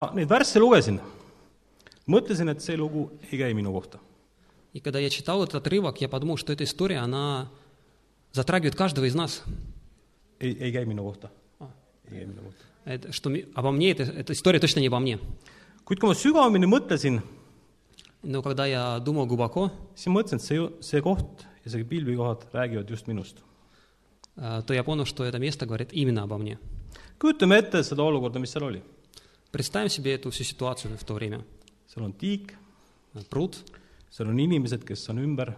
Ah, Neid värsse lugesin , mõtlesin , et see lugu ei käi minu kohta . И когда я читал этот отрывок, я подумал, что эта история, она затрагивает каждого из нас. ei , ei käi minu kohta . ei käi minu kohta . Это, что ми- обо мне, это, эта история точно не обо мне. kuid kui ma sügavamini mõtlesin , Но когда я думал глубоко, siis ma mõtlesin , et see , see koht ja see pilvikohad räägivad just minust . э, то я понял, что это место говорит именно обо мне. kujutame ette seda olukorda , mis seal oli . Представим себе эту всю ситуацию в то время. seal on tiik , Э, Пруд, seal on inimesed , kes on ümber ,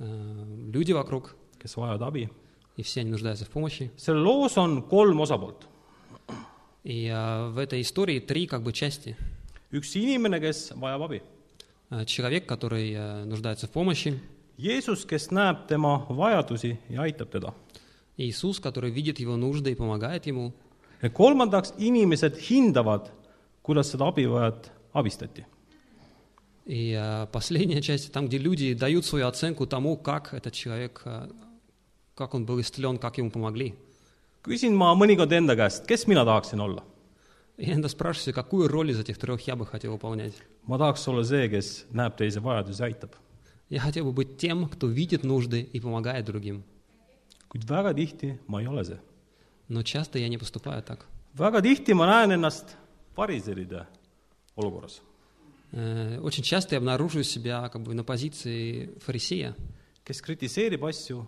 э, люди вокруг, kes vajavad abi . и все они нуждаются в помощи. selles loos on kolm osapoolt . И э, в этой истории три как бы части. üks inimene , kes vajab abi . Э, Человек, который э, нуждается в помощи, Jeesus , kes näeb tema vajadusi ja aitab teda . и Иисус, который видит его нужды и pomagает ему. ja kolmandaks , inimesed hindavad , kuidas seda abivajat abistati . И э, последняя часть, там, где люди дают свою оценку тому, как этот человек, э, как он был исцелен, как ему помогли. küsin ma mõnikord enda käest , kes mina tahaksin olla ? Я иногда спрашиваю себя, какую роль из этих трех я бы хотел выполнять. ma tahaks olla see , kes näeb teise vajadusi ja aitab . Я хотел бы быть тем, кто видит нужды и помогает другим. kuid väga tihti ma ei ole see . Но часто я не поступаю так. väga tihti ma näen ennast variseride olukorras , Э, Очень часто я обнаруживаю себя как бы на позиции фарисея, kes kritiseerib asju , mis on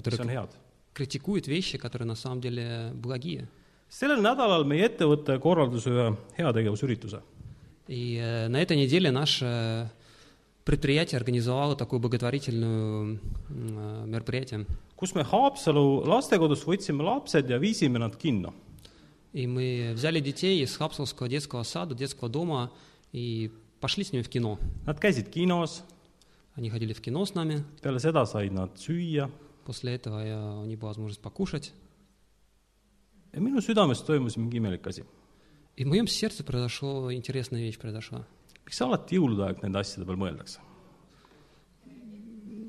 который head . критикует вещи, которые на самом деле благие. sellel nädalal meie ettevõte korraldas ühe heategevusürituse . И э, на этой неделе наше предприятие организовало такое благотворительное э, мероприятие. kus me Haapsalu lastekodus võtsime lapsed ja viisime nad kinno . И мы взяли детей из Хапсовского детского сада, детского дома и пошли с ними в кино. Nad käisid kinos , Они ходили в кино с нами, peale seda said nad süüa после этого э, у них была возможность покушать. ja minu südames toimus mingi imelik asi . И в моем сердце произошла интересная вещь произошла. miks alati jõulude aeg nende asjade peal mõeldakse ?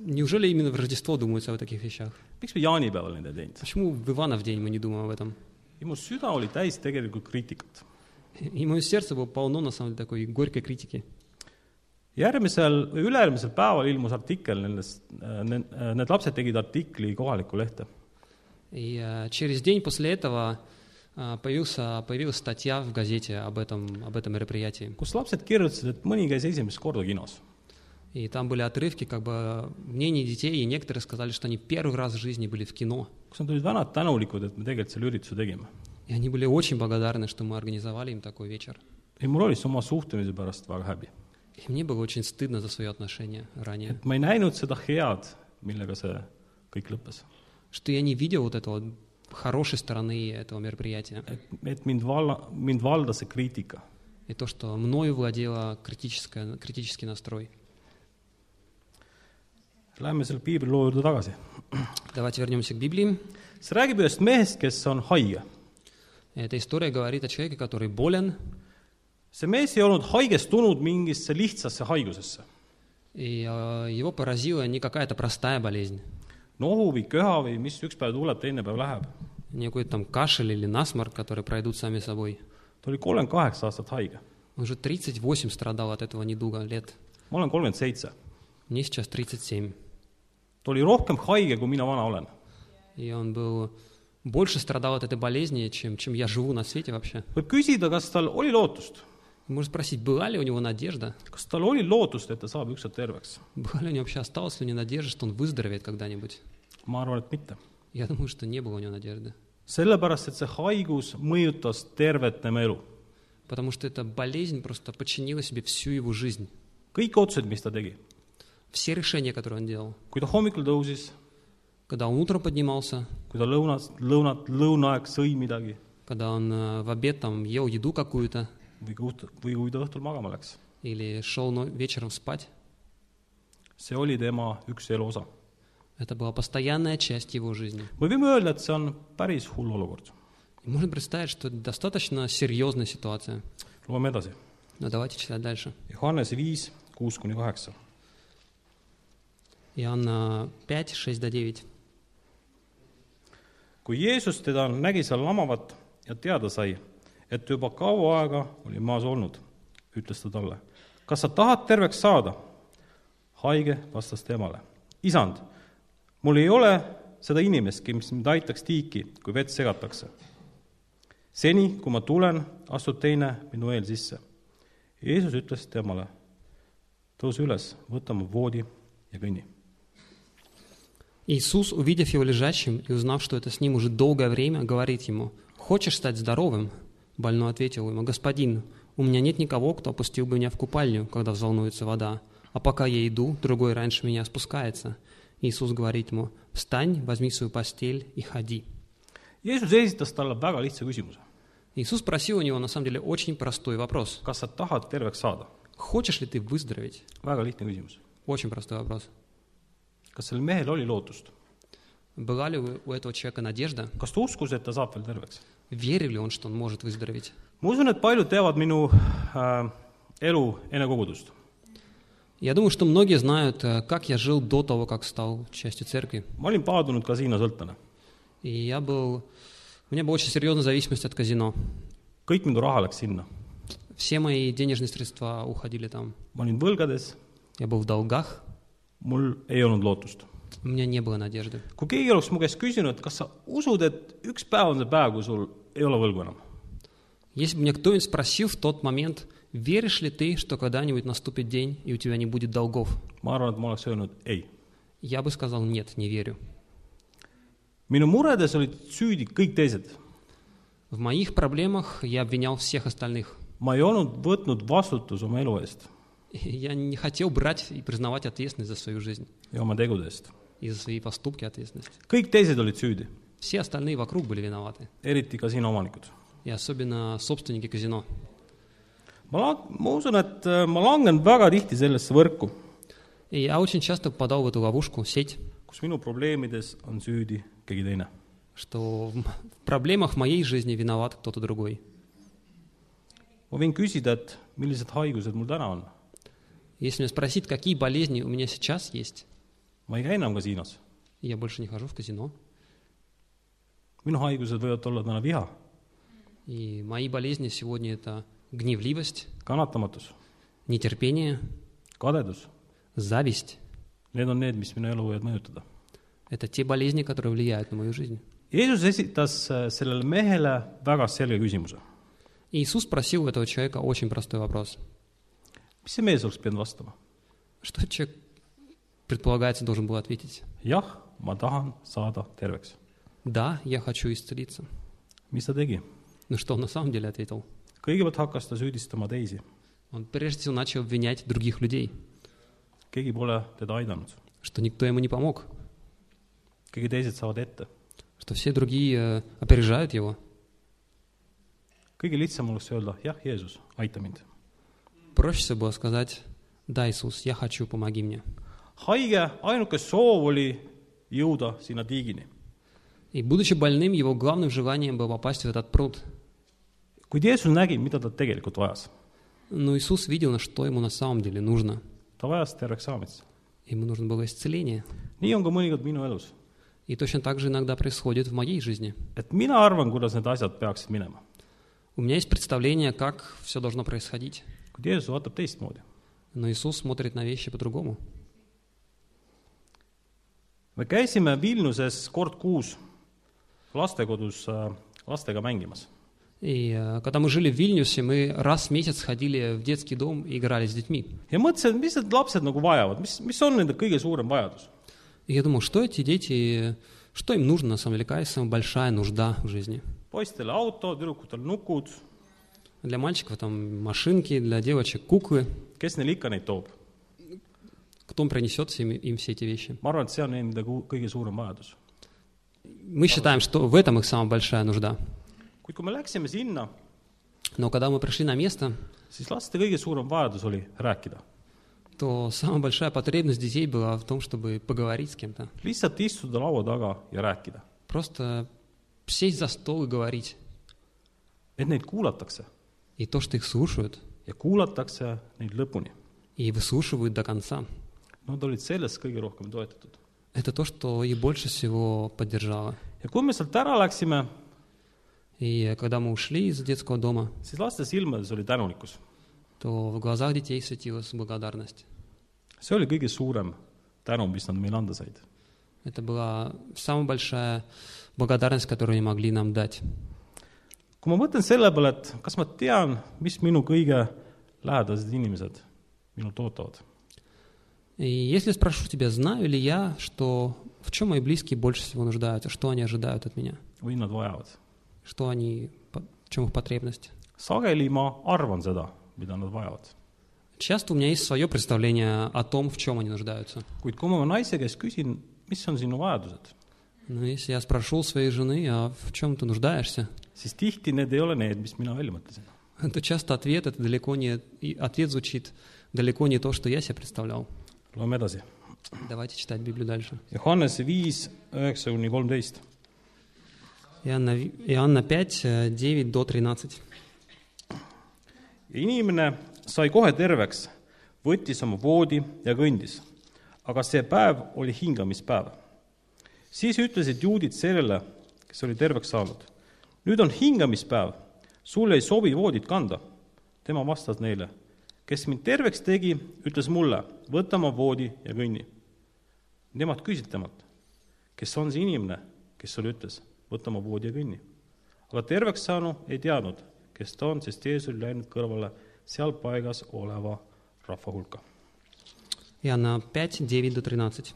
Неужели именно в Рождество думается о таких вещах? miks me jaanipäeval neid ei teinud ? Почему в Иванов день мы не думаем об этом? ja mu süda oli täis tegelikult kriitikat . И мое сердце было полно, на самом деле, такой горькой критики. järgmisel või ülejärgmisel päeval ilmus artikkel nendest , äh, need lapsed tegid artikli kohalikku lehte . И э, через день после этого э, появился, появилась статья в газете об этом, об этом мероприятии. kus lapsed kirjutasid , et mõni käis esimest korda kinos . И там были отрывки как бы мнений детей, и некоторые сказали, что они первый раз в жизни были в кино. kus nad olid väga tänulikud , et me tegelikult selle ürituse tegime . И они были очень благодарны, что мы организовали им такой вечер. ja mul oli siis oma suhtlemise pärast väga häbi . И мне было очень стыдно за свои отношения ранее, et ma ei näinud seda head , millega see kõik lõppes . что я не видел вот этого хорошей стороны этого мероприятия. et , et mind valla , mind valdas see kriitika . И то, что мною владела критическая, критический настрой. Läheme selle piibliloo juurde tagasi . Давайте вернемся к Библии. see räägib ühest mehest , kes on haige . Эта история говорит о человеке, который болен, see mees ei olnud haigestunud mingisse lihtsasse haigusesse . И э, его поразила не какая-то простая болезнь, nohu või köha või mis üks päev tuleb , teine päev läheb . не какой-то там кашель или насморк, которые пройдут сами собой. ta oli kolmkümmend kaheksa aastat haige . Он уже 38 страдал от этого недуга лет. ma olen kolmkümmend seitse . Мне сейчас 37. ta oli rohkem haige , kui mina vana olen . И он был больше страдал от этой болезни, чем, чем я живу на свете вообще. võib küsida , kas tal oli lootust . Можно спросить, была ли у него надежда? kas tal oli lootust , et ta saab ükskord terveks ? Была ли у него вообще осталась ли у него надежда, что он выздоровеет когда-нибудь? ma arvan , et mitte . Я думаю, что не было у него надежды. sellepärast , et see haigus mõjutas tervet tema elu . Потому что эта болезнь просто подчинила себе всю его жизнь. kõik otsused , mis ta tegi . Все решения, которые он делал. kui ta hommikul tõusis , Когда он утром поднимался, kui ta lõunas , lõunat , lõuna aeg sõi midagi когда он э, в обед там ел еду какую-то või kui õht- , või kui ta õhtul magama läks , или шел но- вечером спать, see oli tema üks elu osa . это была постоянная часть его жизни. me võime öelda , et see on päris hull olukord . И можно представить, что это достаточно серьезная ситуация. loeme edasi . Но давайте читать дальше. Johannese viis , kuus kuni kaheksa . Иоанна 5, 6 до 9. kui Jeesus teda nägi seal lamavat ja teada sai , et juba kaua aega olin maas olnud, ütles ta talle. kas sa tahad terveks saada? haige vastas temale. isand, mul ei ole seda inimestki, mis mind aitaks tiiki, kui vett segatakse. seni, kui ma tulen, astub teine minu eel sisse. Jeesus ütles temale, tõuse üles, võta oma voodi ja kõnni Иисус, увидев его лежащим и узнав, что это с ним уже долгое время, говорит ему, «Хочешь стать здоровым?» Больной ответил ему, «Господин, у меня нет никого, кто опустил бы меня в купальню, когда взволнуется вода, а пока я иду, другой раньше меня спускается». Иисус говорит ему, «Встань, возьми свою постель и ходи». Jeesus esitas talle väga lihtsa küsimuse. Иисус спросил у него, на самом деле, очень простой вопрос. kas sa tahad terveks saada? «Хочешь ли ты выздороветь?» väga lihtne küsimus. Очень простой вопрос. kas sellel mehel oli lootust? Была ли у у этого человека надежда? kas ta uskus, et ta saab veel terveks? Верил ли он, что он может выздороветь? ma usun , et paljud teavad minu äh, elu enne kogudust . Я думаю, что многие знают, э, как я жил до того, как стал частью церкви. ma olin paadunud kasiinosõltlane . И я был... У меня была очень серьезная зависимость от казино. kõik minu raha läks sinna . Все мои денежные средства уходили там. ma olin võlgades , Я был в долгах, mul ei olnud lootust . у меня не было надежды. kui keegi oleks mu käest küsinud , kas sa usud , et üks päev on see päev , kui sul ei ole võlgu enam , Если бы меня кто-нибудь спросил в тот момент, веришь ли ты, что когда-нибудь наступит день, и у тебя не будет долгов, ma arvan , et ma oleks öelnud ei . я бы сказал, нет, не верю. minu muredes olid süüdi kõik teised . В моих проблемах я обвинял всех остальных. ma ei olnud võtnud vastutus oma elu eest Я не хотел брать и признавать ответственность за свою жизнь ja oma tegude eest . и за свои поступки ответственность. kõik teised olid süüdi , Все остальные вокруг были виноваты, eriti kasiinoomanikud . и особенно собственники казино. ma la- , ma usun , et äh, ma langen väga tihti sellesse võrku , И я очень часто попадал в эту ловушку, сеть, kus minu probleemides on süüdi keegi teine . что в м- в проблемах моей жизни виноват кто-то другой. ma võin küsida , et millised haigused mul täna on . Если меня спросить, какие болезни у меня сейчас есть, ma ei käi enam kasiinos . я больше не хожу в казино, minu haigused võivad olla täna viha , и мои болезни сегодня это гневливость, kannatamatus , нетерпение, kadedus . зависть. Need on need , mis minu elu võivad mõjutada . Это те болезни, которые влияют на мою жизнь. Jeesus esitas äh, sellele mehele väga selge küsimuse . Иисус спросил у этого человека очень простой вопрос. mis see mees oleks pidanud vastama ? Что человек, предполагается, должен был ответить? jah , ma tahan saada terveks . Да, я хочу исцелиться. mis ta tegi ? Но что он на самом деле ответил? kõigepealt hakkas ta süüdistama teisi . Он прежде всего начал обвинять других людей, keegi pole teda aidanud , что никто ему не помог, keegi teised saavad ette . что все другие э, опережают его. kõige lihtsam oleks öelda jah , Jeesus , aita mind . Проще всего было сказать, да, Иисус, я хочу, помоги мне. haige ainuke soov oli jõuda sinna tiigini . И будучи больным, его главным желанием было попасть в этот пруд. kuid Jeesus nägi , mida ta tegelikult vajas . Но Иисус видел, на что ему на самом деле нужно. ta vajas terveks saamist . Ему нужно было исцеление. nii on ka mõnikord minu elus . И точно так же иногда происходит в моей жизни. et mina arvan , kuidas need asjad peaksid minema . У меня есть представление, как все должно происходить. kuid Jeesus vaatab teistmoodi . Но Иисус смотрит на вещи по-другому. me käisime Vilniuses kord kuus lastekodus äh, lastega mängimas . И э, когда мы жили в Вильнюсе, мы раз в месяц ходили в детский дом и играли с детьми. ja mõtlesin , et mis need lapsed nagu vajavad , mis , mis on nende kõige suurem vajadus . И я думал, что эти дети, что им нужно на самом деле, какая самая большая нужда в жизни. poistele auto , tüdrukutel nukud , Для мальчиков там машинки, для девочек куклы. kes neile ikka neid toob ? Кто принесет всем- им все эти вещи? ma arvan , et see on nende ku- kõige suurem vajadus . Мы считаем, что в этом их самая большая нужда. kuid kui me läksime sinna , Но когда мы пришли на место, siis laste kõige suurem vajadus oli rääkida . то самая большая потребность детей была в том, чтобы поговорить с кем-то. lihtsalt istuda laua taga ja rääkida . Просто сесть за стол и говорить. et neid kuulatakse И то, что их слушают, ja kuulatakse neid lõpuni . и выслушивают до конца, Nad olid sellest kõige rohkem toetatud . это то, что их больше всего поддержало. ja kui me sealt ära läksime , И когда мы ушли из детского дома, siis laste silmades oli tänulikkus . то в глазах детей светилась благодарность. see oli kõige suurem tänu , mis nad meile anda said . Это была самая большая благодарность, которую они могли нам дать. kui ma mõtlen selle peale , et kas ma tean , mis minu kõige lähedased inimesed minult ootavad , И если спрошу тебя, знаю ли я, что в чем мои близкие больше всего нуждаются, что они ожидают от меня, või nad vajavad , что они, по- в чем их потребность. sageli ma arvan seda , mida nad vajavad . Часто у меня есть свое представление о том, в чем они нуждаются. kuid kui ma oma naise käest küsin , mis on sinu vajadused , Но если я спрошу у своей жены, а в чем ты нуждаешься, siis tihti need ei ole need , mis mina välja mõtlesin . то часто ответ это далеко не и ответ звучит далеко не то, что я себе представлял. loeme edasi . Давайте читать Библию дальше. Johannese viis , üheksa kuni kolmteist . Иоанна, Ви- Иоанна 5, э, 9 до 13. ja inimene sai kohe terveks , võttis oma voodi ja kõndis . aga see päev oli hingamispäev . siis ütlesid juudid sellele , kes oli terveks saanud . nüüd on hingamispäev , sulle ei sobi voodit kanda . tema vastas neile , kes mind terveks tegi , ütles mulle , võta oma voodi ja kõnni . Nemad küsisid temalt , kes on see inimene , kes sulle ütles , võta oma voodi ja kõnni . aga terveks saanu ei teadnud , kes ta on , sest Jeesus oli läinud kõrvale seal paigas oleva rahva hulka . Иоанна 5, 9 до 13.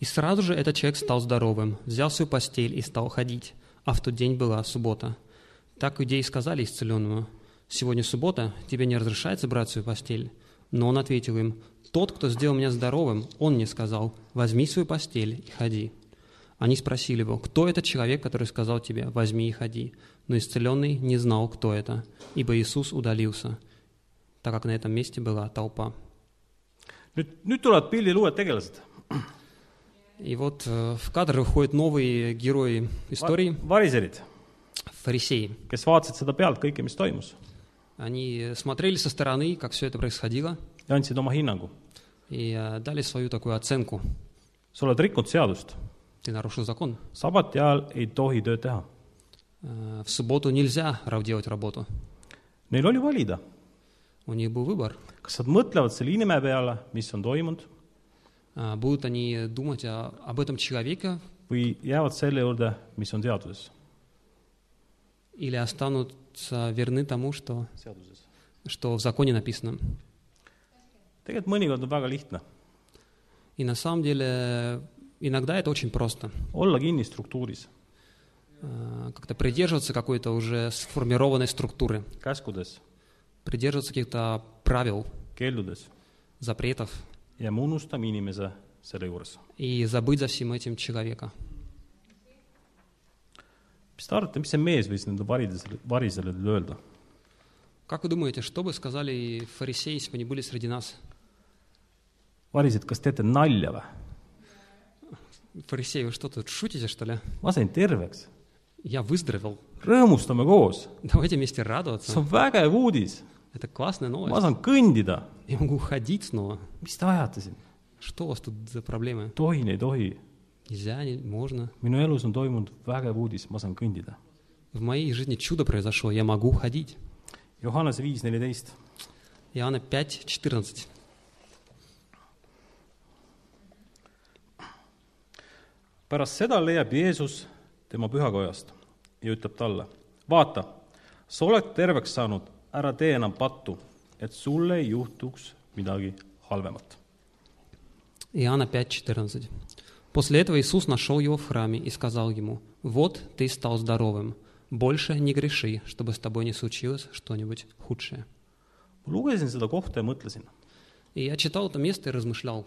«И сразу же этот человек стал здоровым, взял свою постель и стал ходить, а в тот день была суббота. Так иудеи сказали исцеленному, «Сегодня суббота, тебе не разрешается брать свою постель». Но он ответил им, «Тот, кто сделал меня здоровым, он мне сказал, возьми свою постель и ходи». Они спросили его, кто этот человек, который сказал тебе, возьми и ходи. Но исцеленный не знал, кто это, ибо Иисус удалился, так как на этом месте была толпа. nüüd , nüüd tulevad pildil uued tegelased . И вот э, в кадр выходят новые герои истории, variserid , фарисеи. kes vaatasid seda pealt kõike , mis toimus Они смотрели со стороны, как все это происходило, ja andsid oma hinnangu . и э, дали свою такую оценку. sa oled rikkunud seadust , Ты нарушил закон. sabati ajal ei tohi tööd teha . Э, В субботу нельзя раб- делать работу. Neil oli valida , У них был выбор. kas nad mõtlevad selle inimene peale , mis on toimunud , А, Будут они думать о- об этом человеке või jäävad selle juurde , mis on seaduses . или останутся верны тому, что, seaduses . что в законе написано. tegelikult mõnikord on väga lihtne И на самом деле иногда это очень просто. olla kinni struktuuris , Э, Как-то придерживаться какой-то уже сформированной структуры. käskudes , придерживаться каких-то правил, keeldudes запретов ja me unustame inimese selle juures . и забыть за всем этим человека. mis te arvate , mis see mees võis nende varidesele , variseledele öelda ? Как вы думаете, что бы сказали фарисеи, если бы они были среди нас? varised , kas teete nalja või ? Фарисеи, вы что тут шутите, что ли? ma sain terveks , Я выздоровел. rõõmustame koos , Давайте вместе see радоваться. on vägev uudis , Это классная ma новость. saan kõndida . Я могу ходить снова. mis te ajate siin ? Что у вас тут за проблемы? tohin , ei tohi , Нельзя, не, можно. minu elus on toimunud vägev uudis , ma saan kõndida . В моей жизни чудо произошло, я могу ходить. Johannese viis neliteist , Иоанна 5, 14. pärast seda leiab Jeesus tema pühakojast ja ütleb talle , vaata , sa oled terveks saanud , ära tee enam pattu , et sulle ei juhtuks midagi halvemat . Иоанна 5,14. После этого Иисус нашел его в храме и сказал ему, «Вот ты стал здоровым, больше не греши, чтобы с тобой не случилось что-нибудь худшее». ma lugesin seda kohta ja mõtlesin , И я читал это место и размышлял.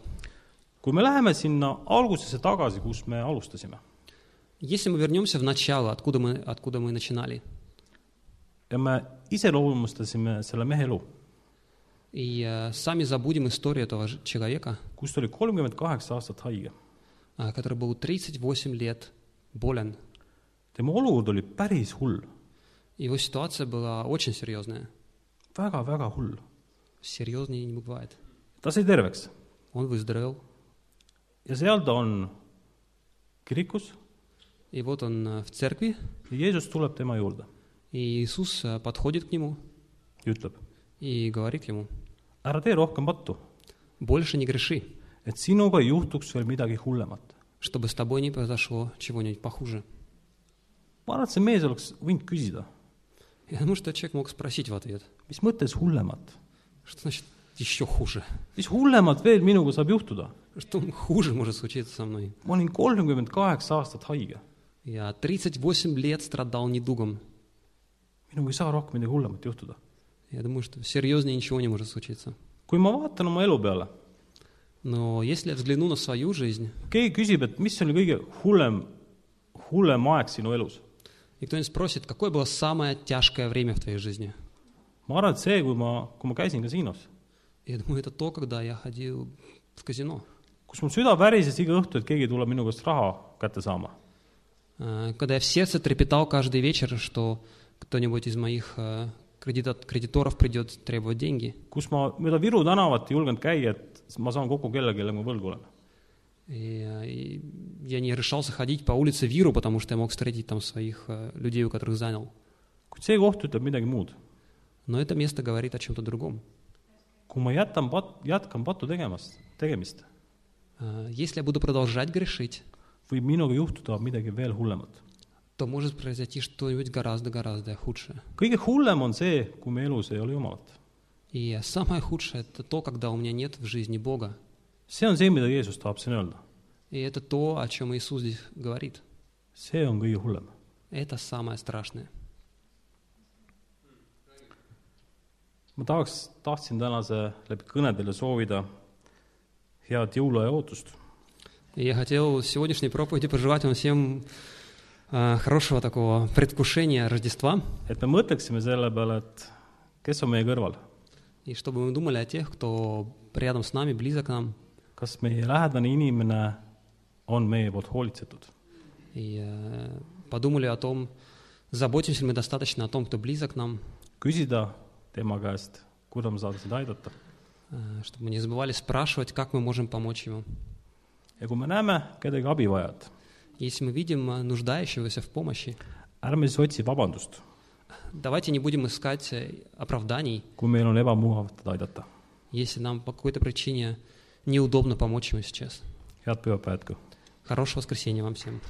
kui me läheme sinna algusesse tagasi , kus me alustasime Если мы вернемся в начало, откуда мы, откуда мы начинали, ja me iseloomustasime selle mehe elu , и э, сами забудем историю этого ж- человека, kus ta oli kolmkümmend kaheksa aastat haige , а, который был 38 лет болен. tema olukord oli päris hull Его ситуация была очень серьезная. väga, , väga-väga hull . Серьезнее не бывает. ta sai terveks Он выздоровел. ja seal ta on kirikus , И вот он э, в церкви, ja Jeesus tuleb tema juurde и Иисус э, подходит к нему ja ütleb , и говорит ему, ära tee rohkem pattu , больше не греши, et sinuga ei juhtuks veel midagi hullemat . чтобы с тобой не произошло чего-нибудь похуже. ma arvan , et see mees oleks võinud küsida , Я думаю, что человек мог спросить в ответ, mis mõttes hullemat ? что значит еще хуже? mis hullemat veel minuga saab juhtuda ? Что хуже может случиться со мной? ma olin kolmkümmend kaheksa aastat haige , Я 38 лет страдал недугом. minuga ei saa rohkem midagi hullemat juhtuda . Я думаю, что серьезнее ничего не может случиться. kui ma vaatan oma elu peale , Но если я взгляну на свою жизнь, keegi küsib , et mis oli kõige hullem , hullem aeg sinu elus . и кто-нибудь спросит, какое было самое тяжкое время в твоей жизни? ma arvan , et see , kui ma , kui ma käisin kasiinos , Я думаю, это то, когда я ходил в казино. kus mul süda värises iga õhtu , et keegi tuleb minu käest raha kätte saama . Э, Когда я в сердце трепетал каждый вечер, что кто-нибудь из моих э, кредитат- кредиторов придет требовать деньги. kus ma mööda Viru tänavat ei julgenud käia , et ma saan kokku kellelegi , kelle ma võlgu olen . И, э, и я не решался ходить по улице Виру, потому что я мог встретить там своих э, людей, у которых занял. kuid see koht ütleb midagi muud . Но это место говорит о чем-то другом. kui ma jätan pat- , jätkan patu tegemast , tegemist , Э, Если я буду продолжать грешить, võib minuga juhtuda midagi veel hullemat . то может произойти что-нибудь гораздо-гораздо худшее. kõige hullem on see , kui me elus ei ole Jumalat . И самое худшее — это то, когда у меня нет в жизни Бога. see on see , mida Jeesus tahab siin öelda . И это то, о чем Иисус здесь говорит. see on kõige hullem . Это самое страшное. ma tahaks , tahtsin tänase läbi kõne teile soovida head jõuluaja ootust . И я хотел в сегодняшней проповеди пожелать вам всем э, хорошего такого предвкушения Рождества, et me mõtleksime selle peale , et kes on meie kõrval , и чтобы мы думали о тех, кто рядом с нами, близок к нам, kas meie lähedane inimene on meie poolt hoolitsetud и э, подумали о том, заботимся ли мы достаточно о том, кто близок к нам, küsida tema käest , kuidas ma saan sind aidata . э, чтобы мы не забывали спрашивать, как мы можем помочь ему. ja kui me näeme kedagi abivajajat , Если мы видим э, нуждающегося в помощи, ärme siis otsi vabandust , давайте не будем искать э, оправданий, kui meil on ebamugav teda aidata . если нам по какой-то причине неудобно помочь ему сейчас. head pühapäeva jätku . Хорошего воскресенья вам всем.